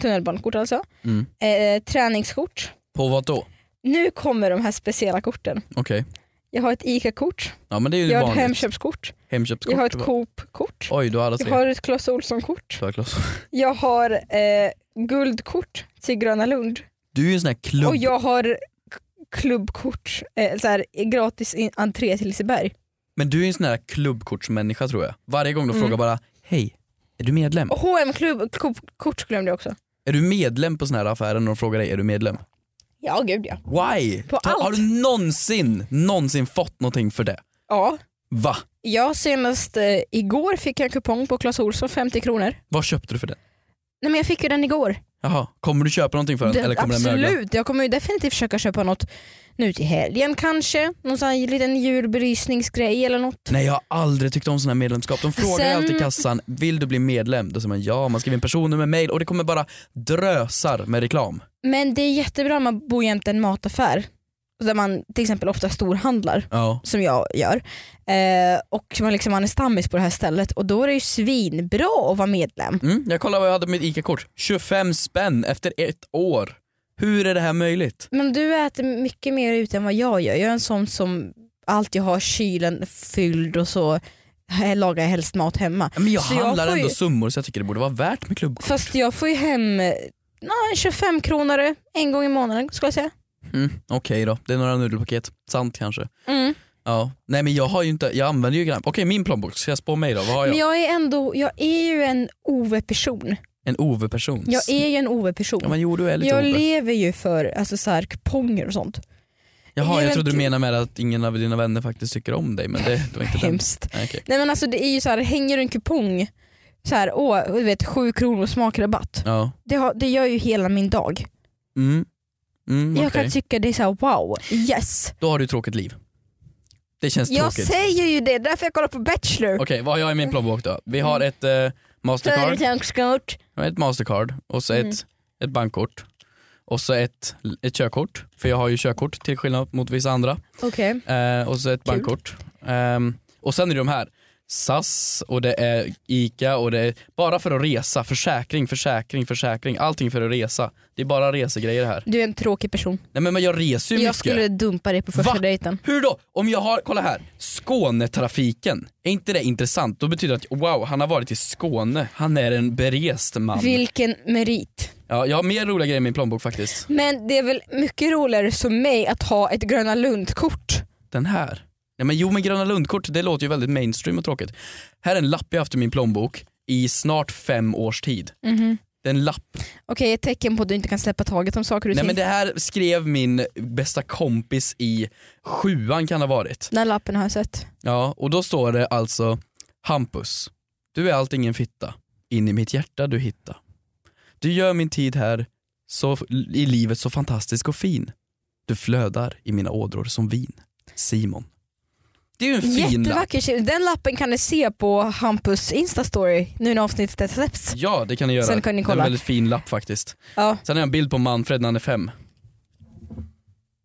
Speaker 3: tunnelbanekort alltså,
Speaker 2: Mm.
Speaker 3: eh, träningskort.
Speaker 2: På vad då?
Speaker 3: Nu kommer de här speciella korten.
Speaker 2: Okej.
Speaker 3: Jag har ett ICA-kort,
Speaker 2: Ja men det är ju
Speaker 3: jag har ett
Speaker 2: vanligt.
Speaker 3: Hemköpskort,
Speaker 2: Hemköpskort.
Speaker 3: Jag har ett
Speaker 2: va?
Speaker 3: Coop-kort.
Speaker 2: Oj, du har alla
Speaker 3: Jag
Speaker 2: tre.
Speaker 3: har ett Clas Ohlson-kort.
Speaker 2: Du har Klas.
Speaker 3: Jag har eh, guldkort till Gröna Lund.
Speaker 2: Du är ju en sån här klubb.
Speaker 3: Och jag har k- klubbkort, eh, så här, gratis in- entré till Liseberg.
Speaker 2: Men du är ju en sån här klubbkortsmänniska tror jag. Varje gång de
Speaker 3: Mm.
Speaker 2: frågar bara, hej, är du medlem?
Speaker 3: Och H&M klubb ko- kort glömde jag också.
Speaker 2: Är du medlem på sån här affärer när de frågar dig, är du medlem?
Speaker 3: Ja gud ja.
Speaker 2: Why?
Speaker 3: På allt.
Speaker 2: Har du någonsin, någonsin fått någonting för det?
Speaker 3: Ja,
Speaker 2: Va?
Speaker 3: jag senast eh, igår fick jag en kupong på Clas Ohlson 50 kronor.
Speaker 2: Vad köpte du för den?
Speaker 3: Nej men jag fick ju den igår.
Speaker 2: Jaha, kommer du köpa någonting för den?
Speaker 3: Den-
Speaker 2: Eller kommer den mögla?
Speaker 3: absolut, jag kommer ju definitivt försöka köpa något nu till helgen kanske. Någon sån här liten julbelysningsgrej eller något.
Speaker 2: Nej jag har aldrig tyckt om sådana här medlemskap. De frågar ju
Speaker 3: Sen-
Speaker 2: alltid kassan, vill du bli medlem? Då säger man ja, man skriver in personnummer, mail och det kommer bara drösar med reklam.
Speaker 3: Men det är jättebra om man bor jämte en mataffär där man till exempel ofta storhandlar
Speaker 2: Ja.
Speaker 3: som jag gör eh, och man, liksom, man är stammis på det här stället och då är det ju svinbra att vara medlem.
Speaker 2: Mm, jag kollade vad jag hade på mitt ICA-kort. 25 spänn efter ett år. Hur är det här möjligt?
Speaker 3: Men du äter mycket mer ute än vad jag gör. Jag är en sån som alltid har kylen fylld och så här lagar jag helst mat hemma.
Speaker 2: Ja, Men jag
Speaker 3: Så jag
Speaker 2: handlar
Speaker 3: får ju-
Speaker 2: ändå summor så jag tycker det borde vara värt med klubbkort.
Speaker 3: Fast jag får ju hem eh, ja, en 25 kronor en gång i månaden skulle jag säga.
Speaker 2: Mm, Okej då, det är några nudelpaket. Sant kanske.
Speaker 3: Mm.
Speaker 2: Ja. Nej men jag har ju inte, jag använder ju gram. Okej min plånbok, ska jag spå mig då? Vad har jag?
Speaker 3: Men jag är ändå, jag är ju en OV-person.
Speaker 2: En Ove-person.
Speaker 3: Jag är ju en OV-person.
Speaker 2: Ja men jo du är lite
Speaker 3: jag
Speaker 2: Ove.
Speaker 3: lever ju för alltså, så här, kuponger och sånt.
Speaker 2: Jaha jag
Speaker 3: jag
Speaker 2: trodde du
Speaker 3: vet-
Speaker 2: menade med att ingen av dina vänner faktiskt tycker om dig men det, det var inte den.
Speaker 3: Hemskt.
Speaker 2: Nej, okej.
Speaker 3: Nej men alltså det är ju så här, hänger du en kupong så här, åh, du vet, sju kronor smakrabatt.
Speaker 2: Ja.
Speaker 3: Det, har, det gör ju hela min dag.
Speaker 2: Mm. Mm,
Speaker 3: Jag
Speaker 2: okej.
Speaker 3: kan tycka det är så här, wow, yes.
Speaker 2: Då har du ett tråkigt liv. Det känns
Speaker 3: Jag
Speaker 2: tråkigt.
Speaker 3: säger ju det, därför jag kollar på Bachelor.
Speaker 2: Okej, vad har jag i min plånbok då? Vi har
Speaker 3: Mm.
Speaker 2: ett eh, Mastercard,
Speaker 3: Företagskort.
Speaker 2: ett Mastercard och så ett,
Speaker 3: Mm.
Speaker 2: ett bankkort. Och så ett, ett körkort, för jag har ju körkort till skillnad mot vissa andra.
Speaker 3: Okej.
Speaker 2: Eh, och så ett
Speaker 3: Kul.
Speaker 2: bankkort. Ehm, och sen är det de här SAS och det är ICA och det är bara för att resa, försäkring, försäkring, försäkring, allting för att resa. Det är bara resegrejer här.
Speaker 3: Du är en tråkig person.
Speaker 2: Nej men men jag reser ju
Speaker 3: Jag
Speaker 2: mycket.
Speaker 3: skulle dumpa dig på första
Speaker 2: Va?
Speaker 3: dejten.
Speaker 2: Hur då? Om jag har, kolla här, Skånetrafiken, är inte det intressant? Då betyder det att wow, han har varit i Skåne, han är en berest man.
Speaker 3: Vilken merit.
Speaker 2: Ja, jag har mer roliga grejer i min plånbok faktiskt.
Speaker 3: Men det är väl mycket roligare för mig att ha ett Gröna Lund-kort.
Speaker 2: Den här. Nej men jo men Gröna Lundkort, det låter ju väldigt mainstream och tråkigt. Här är en lapp jag haft i min plånbok i snart fem års tid. Det är en lapp.
Speaker 3: Okej, ett tecken på att du inte kan släppa taget om saker du
Speaker 2: Nej
Speaker 3: ser.
Speaker 2: men det här skrev min bästa kompis i sjuan kan ha varit.
Speaker 3: Den här lappen har jag sett.
Speaker 2: Ja, och då står det alltså Hampus, du är allting en fitta, in i mitt hjärta du hitta. Du gör min tid här så, i livet så fantastisk och fin. Du flödar i mina ådror som vin. Simon. Det är ju en fin lapp.
Speaker 3: Jättevacker tjej. Den lappen kan ni se på Hampus instastory nu när avsnittet släpps.
Speaker 2: Ja det kan ni göra.
Speaker 3: Sen kan ni
Speaker 2: Det är
Speaker 3: kolla.
Speaker 2: en väldigt fin lapp faktiskt.
Speaker 3: Ja,
Speaker 2: Sen har jag en bild på Manfred när han är fem.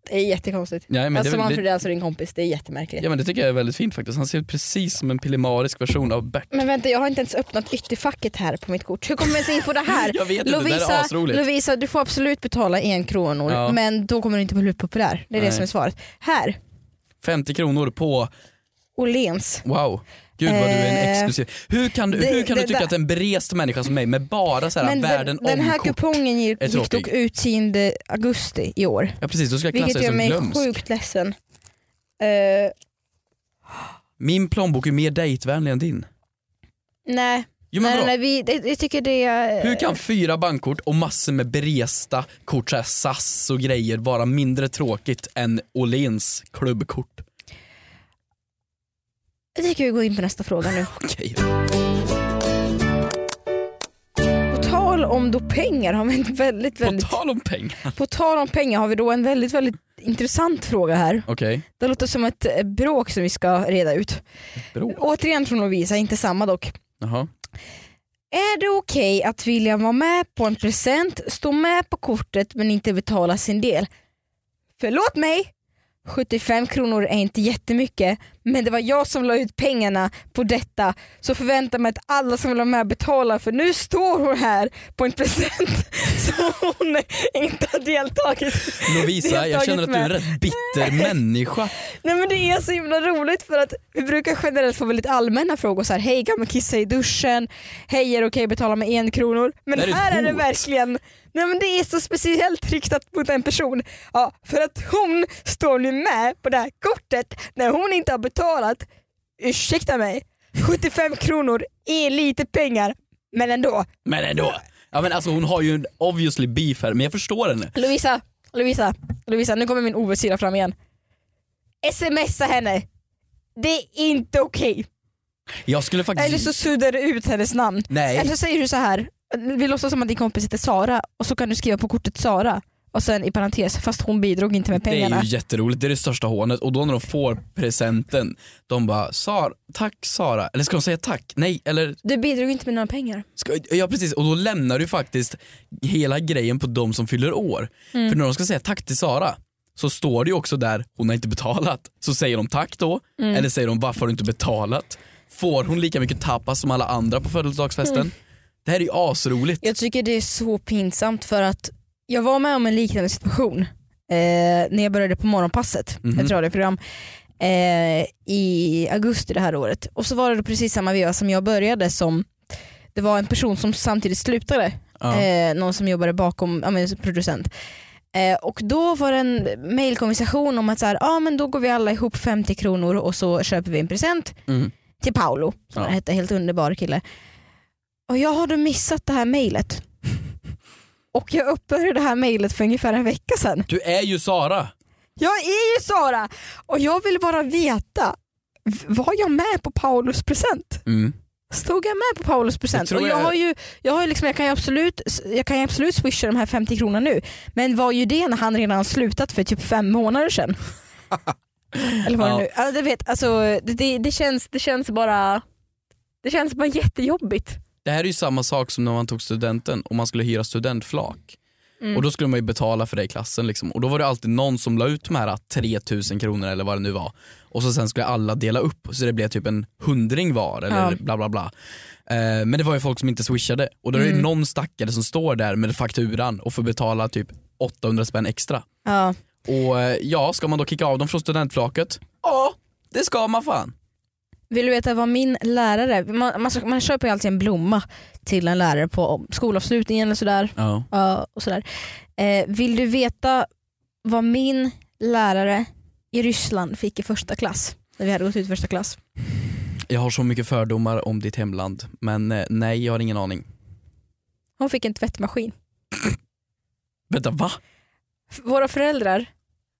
Speaker 3: det är jättekonstigt.
Speaker 2: Nej, men
Speaker 3: alltså
Speaker 2: det, är väl-
Speaker 3: Manfred är alltså din kompis, det är jättemärkligt.
Speaker 2: ja, men det tycker jag är väldigt fint faktiskt. Han ser ut precis som en pillemarisk version av Bert.
Speaker 3: Men vänta jag har inte ens öppnat ytterfacket här på mitt kort. Hur kommer vi ens in på det
Speaker 2: [LAUGHS]
Speaker 3: här?
Speaker 2: Jag vet inte, det där är
Speaker 3: Lovisa,
Speaker 2: asroligt.
Speaker 3: Lovisa, du får absolut betala en kronor
Speaker 2: Ja.
Speaker 3: men då kommer du inte bli populär. Det är
Speaker 2: Nej.
Speaker 3: det som är svaret. Här,
Speaker 2: 50 kronor på
Speaker 3: Åhléns.
Speaker 2: Wow, gud vad du är en
Speaker 3: Eh,
Speaker 2: exklusiv. Hur kan du,
Speaker 3: det-
Speaker 2: hur kan du
Speaker 3: det
Speaker 2: tycka
Speaker 3: där-
Speaker 2: att en berest människa som mig med bara så här
Speaker 3: Men
Speaker 2: världen
Speaker 3: den, den här
Speaker 2: om-kort.
Speaker 3: kupongen gick,
Speaker 2: är
Speaker 3: gick dock
Speaker 2: tråkig.
Speaker 3: ut 10 augusti i år.
Speaker 2: Ja precis, då ska jag klassa
Speaker 3: Vilket
Speaker 2: dig
Speaker 3: gör
Speaker 2: som
Speaker 3: mig
Speaker 2: glömsk.
Speaker 3: sjukt ledsen. Eh,
Speaker 2: Min plånbok är mer dejtvänlig än din.
Speaker 3: nej,
Speaker 2: Jo, men
Speaker 3: nej,
Speaker 2: vadå?
Speaker 3: nej vi, det- jag tycker det är...
Speaker 2: Hur kan fyra bankkort och massor med beresta kort, så här SAS och grejer vara mindre tråkigt än Åhléns klubbkort?
Speaker 3: Jag tycker vi går in på nästa fråga nu.
Speaker 2: Okej.
Speaker 3: På tal om då pengar har vi en väldigt,
Speaker 2: På
Speaker 3: väldigt...
Speaker 2: tal om pengar.
Speaker 3: På tal om pengar har vi då en väldigt, väldigt intressant fråga här.
Speaker 2: Okej,
Speaker 3: Det låter som ett eh, bråk som vi ska reda ut.
Speaker 2: bro.
Speaker 3: Återigen från Lovisa, inte samma dock.
Speaker 2: Jaha.
Speaker 3: Är det okej att vilja vara med på en present, stå med på kortet men inte betala sin del? Förlåt mig! 75 kronor är inte jättemycket men det var jag som la ut pengarna på detta så förvänta mig att alla som vill vara med betalar för nu står hon här på en present [LAUGHS] som hon inte har deltagit i.
Speaker 2: Lovisa, jag
Speaker 3: Deltagit
Speaker 2: känner att du är en
Speaker 3: med.
Speaker 2: rätt bitter människa.
Speaker 3: Nej men det är så himla roligt för att vi brukar generellt få väldigt allmänna frågor så här, hej kan man kissa i duschen? Hej är det okej att betala med en kronor? Men
Speaker 2: Det här är ett
Speaker 3: här är det
Speaker 2: hot.
Speaker 3: verkligen, nej men det är så speciellt riktat mot en person. Ja, för att hon står nu med på det här kortet när hon inte har betalat, ursäkta mig, 75 kronor är lite pengar men ändå.
Speaker 2: Men ändå. Ja, men alltså, hon har ju en obviously beef här, men jag förstår henne.
Speaker 3: Lovisa, Lovisa, Lovisa, nu kommer min oversida fram igen. Smsa henne, det är inte okej.
Speaker 2: Jag skulle faktiskt...
Speaker 3: Eller så suddar du ut hennes namn. Eller
Speaker 2: Nej,
Speaker 3: så säger du så här. vi låtsas som att din kompis heter Sara och så kan du skriva på kortet Sara och sen i parentes, fast hon bidrog inte med
Speaker 2: det
Speaker 3: pengarna.
Speaker 2: är ju jätteroligt. Det är det största hånet. Och då när de får presenten, de bara Sar, “tack Sara”. Eller ska de säga tack? Nej, eller
Speaker 3: Du bidrog inte med några pengar.
Speaker 2: ska, ja precis. Och då lämnar du faktiskt hela grejen på de som fyller år. För när de ska säga tack till Sara så står det ju också där, hon har inte betalat. Så säger de tack då, eller säger de varför har du inte betalat? Får hon lika mycket tapas som alla andra på födelsedagsfesten? Det här är ju asroligt.
Speaker 3: Jag tycker det är så pinsamt för att jag var med om en liknande situation eh, när jag började på morgonpasset, ett radioprogram, eh, i augusti det här året. Och så var det precis samma veva som jag började som det var en person Eh, som samtidigt slutade
Speaker 2: Ja.
Speaker 3: eh, någon som jobbade bakom, ja, men, producent. Eh, och då var det en mailkonversation om att så här, ah, men då går vi alla ihop 50 kronor och så köper vi en present
Speaker 2: Mm.
Speaker 3: till Paolo, som
Speaker 2: Ja.
Speaker 3: hette, helt underbar kille. Och jag hade missat det här mejlet. och jag öppnade det här mejlet för ungefär en vecka sedan.
Speaker 2: Du är ju Sara!
Speaker 3: Jag är ju Sara och jag vill bara veta, v- var jag med på Paolos present?
Speaker 2: Mm.
Speaker 3: Stod jag med på Paulus
Speaker 2: Jag
Speaker 3: present?
Speaker 2: tror
Speaker 3: och jag,
Speaker 2: jag-
Speaker 3: har ju, jag, har ju liksom, jag kan ju absolut, jag kan ju absolut swisha de här 50 kronorna nu, men var ju det när han redan har slutat för typ fem månader sedan? Eller var det
Speaker 2: Ja.
Speaker 3: nu? Alltså, du vet, alltså, det, det, det, känns, det känns bara det känns bara jättejobbigt.
Speaker 2: Det här är ju samma sak som när man tog studenten och man skulle hyra studentflak. Och då skulle man ju betala för det i klassen liksom. Och då var det alltid någon som la ut de här 3000 kronor eller vad det nu var. Och så sen skulle alla dela upp så det blev typ en hundring var eller
Speaker 3: Ja.
Speaker 2: bla bla bla. Eh, men det var ju folk som inte swishade och då är det ju någon stackare som står där med fakturan och får betala typ 800 spänn extra.
Speaker 3: Ja.
Speaker 2: Och eh, ja, ska man då kicka av dem från studentflaket? Ja, det ska man fan.
Speaker 3: Vill du veta vad min lärare, man, man, man köper ju alltid en blomma till en lärare på skolavslutningen eller sådär.
Speaker 2: Ja.
Speaker 3: Ja, och sådär. Eh, vill du veta vad min lärare i Ryssland fick i första klass? När vi hade gått ut första klass.
Speaker 2: Jag har så mycket fördomar om ditt hemland men eh, nej jag har ingen aning.
Speaker 3: Hon fick en tvättmaskin.
Speaker 2: Vänta va?
Speaker 3: F- Våra föräldrar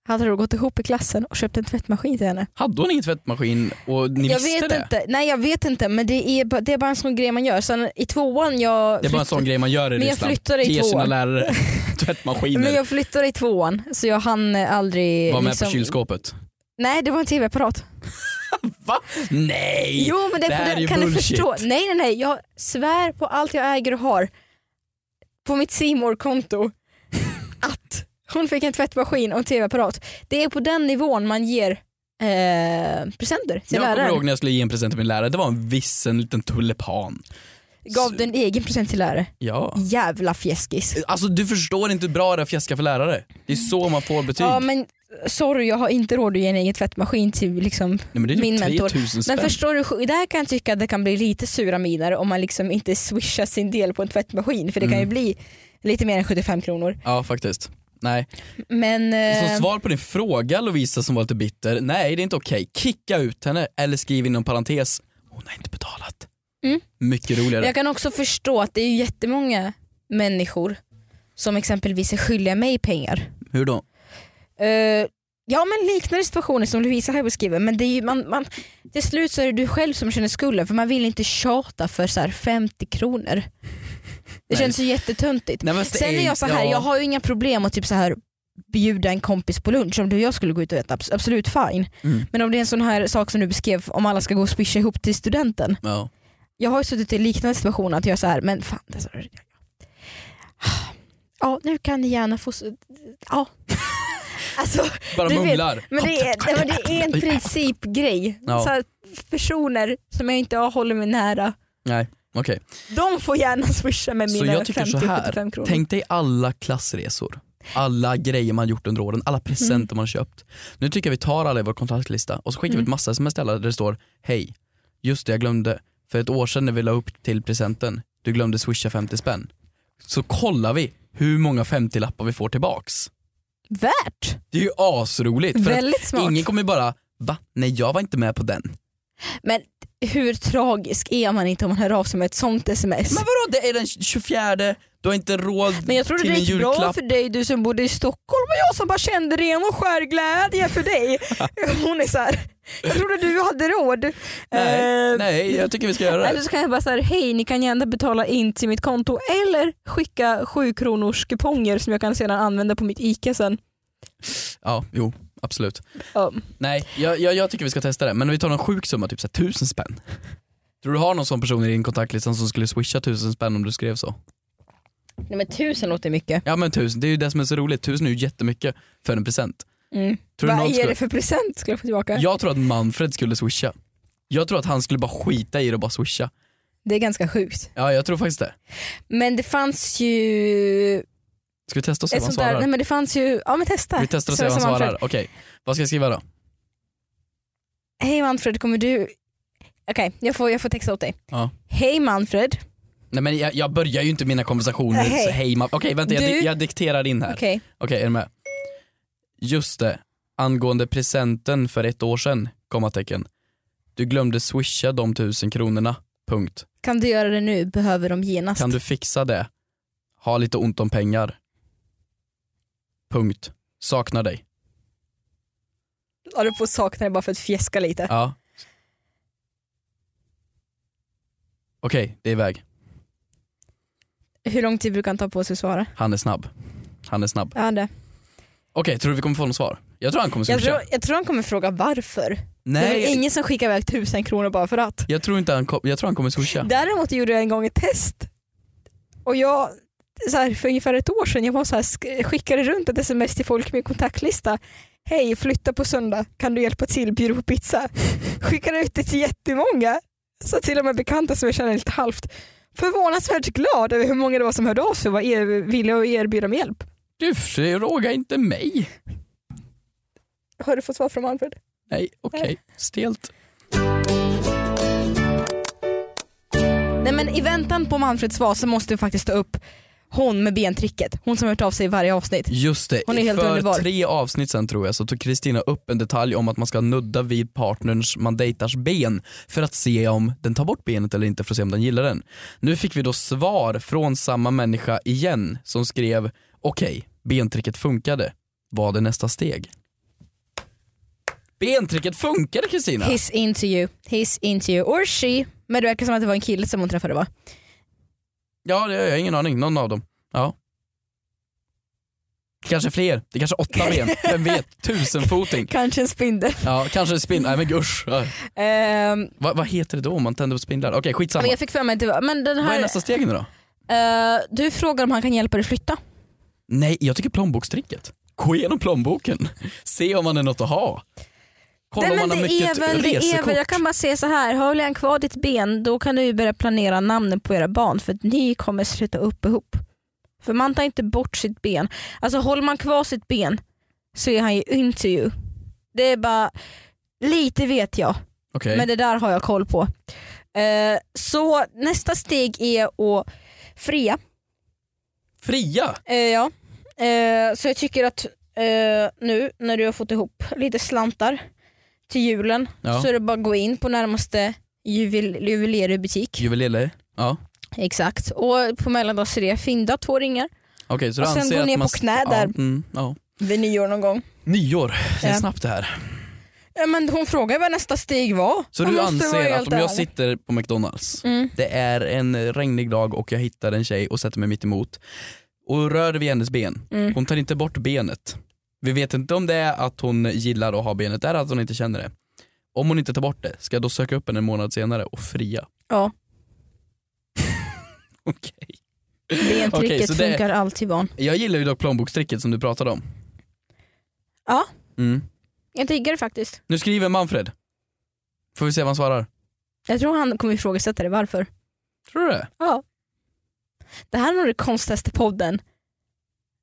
Speaker 3: hade då gått ihop i klassen och köpt en tvättmaskin till henne.
Speaker 2: Hade hon ingen tvättmaskin och ni
Speaker 3: jag
Speaker 2: visste
Speaker 3: vet
Speaker 2: det?
Speaker 3: inte. Nej jag vet inte men det är, ba- det är bara en sån grej man gör. Sen i tvåan jag
Speaker 2: Det är bara en
Speaker 3: flytt-
Speaker 2: sån grej man gör i
Speaker 3: Men jag
Speaker 2: Ryssland.
Speaker 3: flyttade i
Speaker 2: Ge
Speaker 3: två
Speaker 2: sina
Speaker 3: år. [LAUGHS]
Speaker 2: lärare tvättmaskiner.
Speaker 3: men jag flyttade i tvåan så jag hann eh, aldrig...
Speaker 2: Var med
Speaker 3: liksom-
Speaker 2: på kylskåpet.
Speaker 3: Nej det var en tv-apparat.
Speaker 2: Va? Nej!
Speaker 3: Jo men det,
Speaker 2: Det här är ju
Speaker 3: kan du
Speaker 2: bullshit.
Speaker 3: förstå. Nej nej nej, jag svär på allt jag äger och har på mitt more konto
Speaker 2: [LAUGHS]
Speaker 3: att hon fick en tvättmaskin och en tv-apparat. Det är på den nivån man ger eh, presenter till
Speaker 2: jag kommer
Speaker 3: läraren.
Speaker 2: ihåg när jag skulle ge en present till min lärare, det var en vissen liten tulipan.
Speaker 3: Gav du en egen present till lärare?
Speaker 2: Ja.
Speaker 3: Jävla fjäskis.
Speaker 2: Alltså du förstår inte hur bra det är att fjäska för lärare. Det är så man får betyg.
Speaker 3: Ja men eh, sorry jag har inte råd att ge en egen tvättmaskin till liksom
Speaker 2: Nej, men det är
Speaker 3: min
Speaker 2: typ
Speaker 3: mentor.
Speaker 2: 3000 spänn.
Speaker 3: Men förstår du, där kan jag tycka att det kan bli lite sura miner om man liksom inte swishar sin del på en tvättmaskin för det kan
Speaker 2: Mm.
Speaker 3: ju bli lite mer än 75 kronor.
Speaker 2: Ja faktiskt. Nej.
Speaker 3: Men eh,
Speaker 2: Så svar på din fråga Lovisa som var lite bitter, nej det är inte okej. Kicka ut henne eller skriv inom parentes, hon har inte betalat.
Speaker 3: Mm.
Speaker 2: Mycket roligare.
Speaker 3: jag kan också förstå att det är ju jättemånga människor som exempelvis är skyldiga mig pengar.
Speaker 2: Hur då?
Speaker 3: Eh, ja men liknande situationer som Lovisa här beskriver men det är ju, man, man, till slut så är det du själv som känner skulden för man vill inte tjata för så här 50 kronor. Det
Speaker 2: Nej.
Speaker 3: känns ju jättetöntigt.
Speaker 2: Nej, men det
Speaker 3: Sen är jag så här,
Speaker 2: ja.
Speaker 3: jag har ju inga problem att typ så här bjuda en kompis på lunch om du och jag skulle gå ut och äta, abs- absolut fine.
Speaker 2: Mm.
Speaker 3: Men om det är en sån här sak som du beskrev, om alla ska gå och swisha ihop till studenten.
Speaker 2: Ja.
Speaker 3: Jag har ju suttit i liknande situationer att jag är så här, men fan. Alltså, ja, nu kan ni gärna få... s- [LAUGHS] Ja. alltså,
Speaker 2: Bara
Speaker 3: Du vet,
Speaker 2: mumlar.
Speaker 3: men det är, nej, men det är en principgrej.
Speaker 2: Ja.
Speaker 3: Så här, personer som jag inte håller mig nära,
Speaker 2: Nej, okej.
Speaker 3: de får gärna swisha med
Speaker 2: Så
Speaker 3: mina
Speaker 2: jag tycker så här,
Speaker 3: 50-75 kronor.
Speaker 2: Tänk dig alla klassresor, alla grejer man gjort under åren, alla
Speaker 3: Mm.
Speaker 2: presenter man köpt. Nu tycker jag vi tar alla i vår kontaktlista och så skickar vi ett massa sms till alla där det står Hej, just det jag glömde, för ett år sedan när vi la upp till presenten, du glömde swisha 50 spänn. Så kollar vi hur många 50-lappar vi får tillbaks.
Speaker 3: Värt!
Speaker 2: Det är ju asroligt för
Speaker 3: Väldigt
Speaker 2: att
Speaker 3: smart.
Speaker 2: ingen kommer ju bara Va? Nej jag var inte med på den.
Speaker 3: Men hur tragisk är man inte om man hör av sig med ett sånt sms?
Speaker 2: Men vadå det är den 24, du har inte råd
Speaker 3: Men jag trodde
Speaker 2: till
Speaker 3: det
Speaker 2: en
Speaker 3: gick
Speaker 2: julklapp.
Speaker 3: bra för dig du som bodde i Stockholm och jag som bara kände ren och skär glädje
Speaker 2: [LAUGHS]
Speaker 3: för dig. Hon är så här. jag trodde du hade råd.
Speaker 2: Nej,
Speaker 3: Eh,
Speaker 2: nej, jag tycker vi ska göra det.
Speaker 3: Eller så kan jag bara säga hej ni kan gärna betala in till mitt konto eller skicka 7 kronors kuponger som jag kan sedan använda på mitt ICA sen.
Speaker 2: Ja, jo, absolut.
Speaker 3: Ja.
Speaker 2: Nej, jag, jag, jag tycker vi ska testa det. Men om vi tar någon sjuk summa, typ så här, tusen spänn. Tror du har någon sån person i din kontaktlista som skulle swisha tusen spänn om du skrev så?
Speaker 3: Nej men tusen låter mycket.
Speaker 2: Ja men tusen, det är ju det som är så roligt. Tusen är ju jättemycket för en present. Tror
Speaker 3: Mm.
Speaker 2: du
Speaker 3: Vad
Speaker 2: någon
Speaker 3: är
Speaker 2: skulle...
Speaker 3: det för present skulle jag få tillbaka?
Speaker 2: Jag tror att Manfred skulle swisha. Jag tror att han skulle bara skita i det och bara swisha.
Speaker 3: Det är ganska sjukt.
Speaker 2: Ja, jag tror faktiskt det.
Speaker 3: Men det fanns ju...
Speaker 2: Ska vi testa och se
Speaker 3: Ett
Speaker 2: vad han
Speaker 3: sånt där,
Speaker 2: svarar?
Speaker 3: nej men det fanns ju, ja men testa.
Speaker 2: Vi testar och
Speaker 3: Så
Speaker 2: ser vad han
Speaker 3: som Manfred.
Speaker 2: svarar. Okej, vad ska jag skriva då?
Speaker 3: Hej Manfred, kommer du... Okej, jag, får, jag får texta åt dig.
Speaker 2: Ja.
Speaker 3: Hej Manfred,
Speaker 2: Nej men jag, jag börjar ju inte mina konversationer
Speaker 3: Nej.
Speaker 2: så hej ma- Okej vänta jag,
Speaker 3: Du-
Speaker 2: di- jag dikterar in här. Okej
Speaker 3: Okej.
Speaker 2: är du med? Just det, angående presenten för ett år sedan, kommatecken. Du glömde swisha de tusen kronorna, punkt.
Speaker 3: Kan du göra det nu behöver de genast.
Speaker 2: Kan du fixa det? Ha lite ont om pengar. Punkt. Saknar dig.
Speaker 3: La du på saknar bara för att fjäska lite?
Speaker 2: Ja. Okej, det är iväg.
Speaker 3: Hur lång tid brukar han ta på sig att svara?
Speaker 2: Han är snabb. Han är snabb.
Speaker 3: Ja, det.
Speaker 2: Okej, tror du vi kommer få något svar? Jag tror han kommer
Speaker 3: Jag,
Speaker 2: swisha.
Speaker 3: tror, jag tror han kommer fråga varför. det är
Speaker 2: Nej,
Speaker 3: väl ingen som skickar iväg tusen kronor bara för att.
Speaker 2: jag tror inte han, kom, jag tror han kommer swisha.
Speaker 3: Däremot gjorde jag en gång ett test. Och jag, så här, för ungefär ett år sedan, jag var så här, sk- skickade runt ett sms till folk med kontaktlista. Hej, flytta på söndag, kan du hjälpa till, bjuda på pizza? [LAUGHS] Skickade ut det till jättemånga. Så till och med bekanta som jag känner lite halvt. Förvånansvärt glad över hur många det var som hörde av sig och var er, villiga att erbjuda mig hjälp.
Speaker 2: Du frågar inte mig.
Speaker 3: Har du fått svar från Alfred?
Speaker 2: Nej, okej. Stelt.
Speaker 3: Nej men i väntan på Manfreds svar så måste vi faktiskt ta upp hon med bentricket. Hon som har hört av sig i varje avsnitt.
Speaker 2: Just det,
Speaker 3: Hon är helt
Speaker 2: för
Speaker 3: underbar.
Speaker 2: tre avsnitt sen tror jag så tog Kristina upp en detalj om att man ska nudda vid partners man dejtars ben för att se om den tar bort benet eller inte för att se om den gillar den. Nu fick vi då svar från samma människa igen som skrev okej, bentricket funkade. Vad är nästa steg? Bentricket funkade Kristina!
Speaker 3: He's into you, he's into you, or she. Men det verkar som att det var en kille som hon träffade va?
Speaker 2: Ja, det har jag ingen aning. Någon av dem. Ja. Kanske fler. Det är kanske åtta ben. Vem vet? Tusenfoting.
Speaker 3: Kanske en spindel.
Speaker 2: Ja, kanske en spindel. Nej men gusch. Ja. Vad, vad heter det då om man tänder på spindlar? Okej, skitsamma.
Speaker 3: Ehm, men jag fick för mig att det var, men den
Speaker 2: Vad är
Speaker 3: här,
Speaker 2: nästa steg nu då?
Speaker 3: eh, du frågar om han kan hjälpa dig flytta.
Speaker 2: Nej, jag tycker plånbokstricket. Gå igenom plånboken. Se om man är något att ha. Kolla om
Speaker 3: Nej,
Speaker 2: man
Speaker 3: men
Speaker 2: har
Speaker 3: det är
Speaker 2: mycket
Speaker 3: väl, det är
Speaker 2: resekort.
Speaker 3: väl, jag kan bara säga så här, håller han kvar ditt ben då kan du ju börja planera namnen på era barn för att ni kommer sluta upp ihop. För man tar inte bort sitt ben. Alltså håller man kvar sitt ben så är han ju into you. Det är bara, lite vet jag.
Speaker 2: Okej.
Speaker 3: Men det där har jag koll på. Eh, så nästa steg är att fria.
Speaker 2: Fria!
Speaker 3: Eh, ja. Eh, så jag tycker att eh, nu när du har fått ihop lite slantar till julen
Speaker 2: Ja.
Speaker 3: så är det bara att gå in på närmaste juvel- juvelerarbutik.
Speaker 2: Juvelele. Ja.
Speaker 3: Exakt. Och på mellandagsrea fynda två ringar.
Speaker 2: Okej, så du
Speaker 3: Och sen
Speaker 2: anser
Speaker 3: gå
Speaker 2: att
Speaker 3: ner
Speaker 2: man...
Speaker 3: på knä
Speaker 2: ja,
Speaker 3: där.
Speaker 2: Mm, ja.
Speaker 3: Vid nyår någon gång.
Speaker 2: Nyår. Det är
Speaker 3: Ja.
Speaker 2: snabbt det här.
Speaker 3: Ja, men hon frågar vad nästa steg var.
Speaker 2: Så
Speaker 3: Man
Speaker 2: du
Speaker 3: måste vara
Speaker 2: anser att
Speaker 3: helt
Speaker 2: om jag
Speaker 3: ärlig.
Speaker 2: sitter på McDonalds
Speaker 3: Mm.
Speaker 2: Det är en regnig dag och jag hittar en tjej och sätter mig mitt emot och rör vid hennes ben.
Speaker 3: Mm.
Speaker 2: Hon tar inte bort benet. Vi vet inte om det är att hon gillar att ha benet eller att hon inte känner det. Om hon inte tar bort det, ska jag då söka upp henne en månad senare och fria?
Speaker 3: Ja.
Speaker 2: Okej.
Speaker 3: Bentricket
Speaker 2: Okej, så det-
Speaker 3: funkar alltid barn.
Speaker 2: Jag gillar ju dock plånbokstricket som du pratade om.
Speaker 3: Ja.
Speaker 2: Mm.
Speaker 3: Jag diggar det faktiskt.
Speaker 2: Nu skriver Manfred. Får vi se vad han svarar.
Speaker 3: Jag tror han kommer ifrågasätta det varför.
Speaker 2: Tror du det?
Speaker 3: Det här är nog den konstigaste podden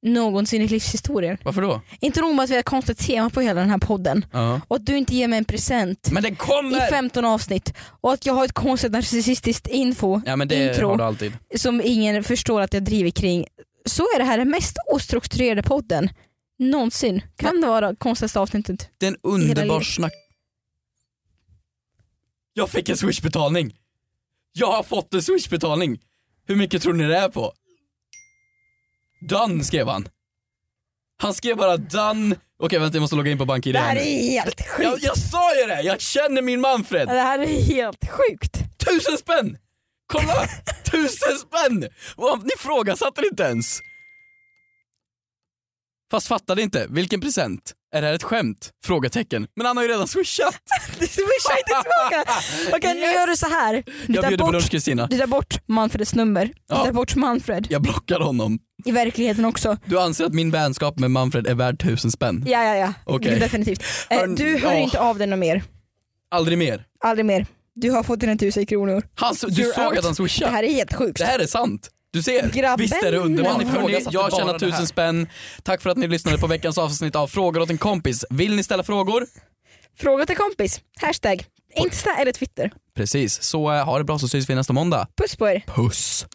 Speaker 3: någonsin i livshistorien.
Speaker 2: Varför då?
Speaker 3: Inte nog med att vi har ett konstigt tema på hela den här podden
Speaker 2: Ja.
Speaker 3: och att du inte ger mig en present
Speaker 2: Men det
Speaker 3: i
Speaker 2: kommer!
Speaker 3: 15 avsnitt och att jag har ett konstigt narcissistiskt info
Speaker 2: Ja men det
Speaker 3: Intro.
Speaker 2: har du alltid.
Speaker 3: som ingen förstår att jag driver kring. Så är det här den mest ostrukturerade podden någonsin. Kan det vara det konstigaste avsnittet?
Speaker 2: Det är en
Speaker 3: Hela
Speaker 2: underbar
Speaker 3: livet.
Speaker 2: snack... Jag fick en swishbetalning! Jag har fått en swishbetalning! Hur mycket tror ni det är på? Done skrev han. Han skrev bara done. Okej vänta jag måste logga in på BankID
Speaker 3: Det
Speaker 2: här
Speaker 3: här
Speaker 2: nu.
Speaker 3: är helt
Speaker 2: jag,
Speaker 3: sjukt.
Speaker 2: jag sa ju det! Jag känner min Manfred!
Speaker 3: Det här är helt
Speaker 2: [LAUGHS]
Speaker 3: sjukt.
Speaker 2: Tusen spänn!
Speaker 3: [LAUGHS]
Speaker 2: Kolla! Tusen spänn! Och Ni frågasatte det inte ens. Fast fattade inte, vilken present? Är det här ett skämt? Frågetecken. Men han har ju redan swishat!
Speaker 3: Du swishar
Speaker 2: [LAUGHS]
Speaker 3: inte tillbaka. Okej nu
Speaker 2: Yes.
Speaker 3: gör du så här. Du
Speaker 2: Jag
Speaker 3: tar
Speaker 2: bjuder på
Speaker 3: bort,
Speaker 2: lunch Kristina.
Speaker 3: du tar bort Manfreds nummer. Du
Speaker 2: Ja.
Speaker 3: tar bort Manfred.
Speaker 2: Jag blockar honom.
Speaker 3: I verkligheten också.
Speaker 2: Du anser att min vänskap med Manfred är värd tusen spänn?
Speaker 3: Ja, ja, ja.
Speaker 2: Okej.
Speaker 3: Det är Definitivt. Eh,
Speaker 2: Hörn-
Speaker 3: du hör
Speaker 2: ja.
Speaker 3: inte av dig något mer.
Speaker 2: Aldrig mer.
Speaker 3: Aldrig mer. Du har fått dina tusen kronor.
Speaker 2: Han, du
Speaker 3: You're
Speaker 2: såg
Speaker 3: out.
Speaker 2: att han
Speaker 3: Det
Speaker 2: swishade.
Speaker 3: här är helt sjukt.
Speaker 2: Det här är sant. Du ser.
Speaker 3: Grabben
Speaker 2: Visst är det underbart.
Speaker 3: har
Speaker 2: Hörrni,
Speaker 3: ifrågasatt
Speaker 2: jag har
Speaker 3: bara
Speaker 2: tjänat
Speaker 3: det här.
Speaker 2: tusen spänn. Tack för att ni lyssnade på veckans avsnitt av Frågor åt en kompis. Vill ni ställa frågor?
Speaker 3: Fråga till kompis. Hashtag. Insta eller Twitter.
Speaker 2: Precis. Så eh, ha det bra så syns vi nästa måndag.
Speaker 3: Puss på er.
Speaker 2: Puss!